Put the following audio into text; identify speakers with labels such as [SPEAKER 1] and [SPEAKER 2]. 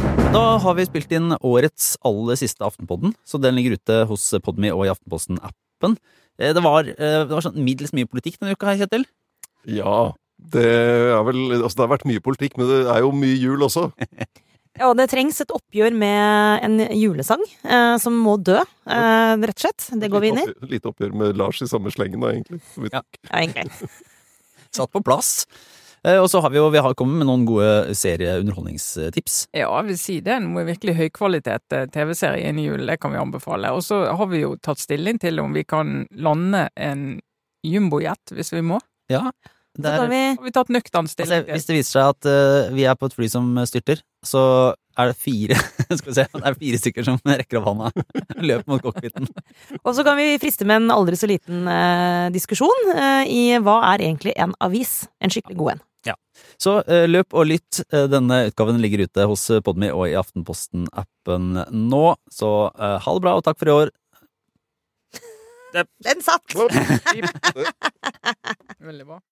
[SPEAKER 1] har vi spilt inn årets aller siste Aftenpodden, så den ligger ute hos Podme og i Aftenposten-appen. Eh, Det var, eh, det var sånn middels mye politikk denne uka, her, Kjetil.
[SPEAKER 2] Ja. Det, er vel, altså det har vært mye politikk, men det er jo mye jul også.
[SPEAKER 3] Ja, og det trengs et oppgjør med en julesang eh, som må dø, eh, rett og slett. Det går vi inn i.
[SPEAKER 2] Lite oppgjør- Lite oppgjør med Lars i samme slengen, da, egentlig.
[SPEAKER 1] Ja.
[SPEAKER 3] Ja, egentlig.
[SPEAKER 1] Satt på plass. Eh, Og så har vi jo vi har kommet med noen gode serieunderholdningstips.
[SPEAKER 4] Ja, jeg vil si det er noe virkelig høykvalitet eh, TV-serie inn i julen, det kan vi anbefale. Og så har vi jo tatt stilling til om vi kan lande en jumbojet, hvis vi må.
[SPEAKER 1] Ja,
[SPEAKER 3] Så tar vi
[SPEAKER 4] Har vi tatt nøktern
[SPEAKER 1] Altså,
[SPEAKER 4] stilling til.
[SPEAKER 1] hvis det viser seg at eh, vi er på et fly som styrter, så er det fire skal vi se, det er fire stykker som rekker opp hånda og løper mot cockpiten.
[SPEAKER 3] Og så kan vi friste med en aldri så liten eh, diskusjon eh, i hva er egentlig en avis? En skikkelig god en.
[SPEAKER 1] Så eh, løp og lytt. Eh, Denne utgaven ligger ute hos Podmy og i Aftenposten-appen nå. Så eh, ha det bra, og takk for i år.
[SPEAKER 3] Den satt!
[SPEAKER 2] Ja.
[SPEAKER 4] Veldig bra.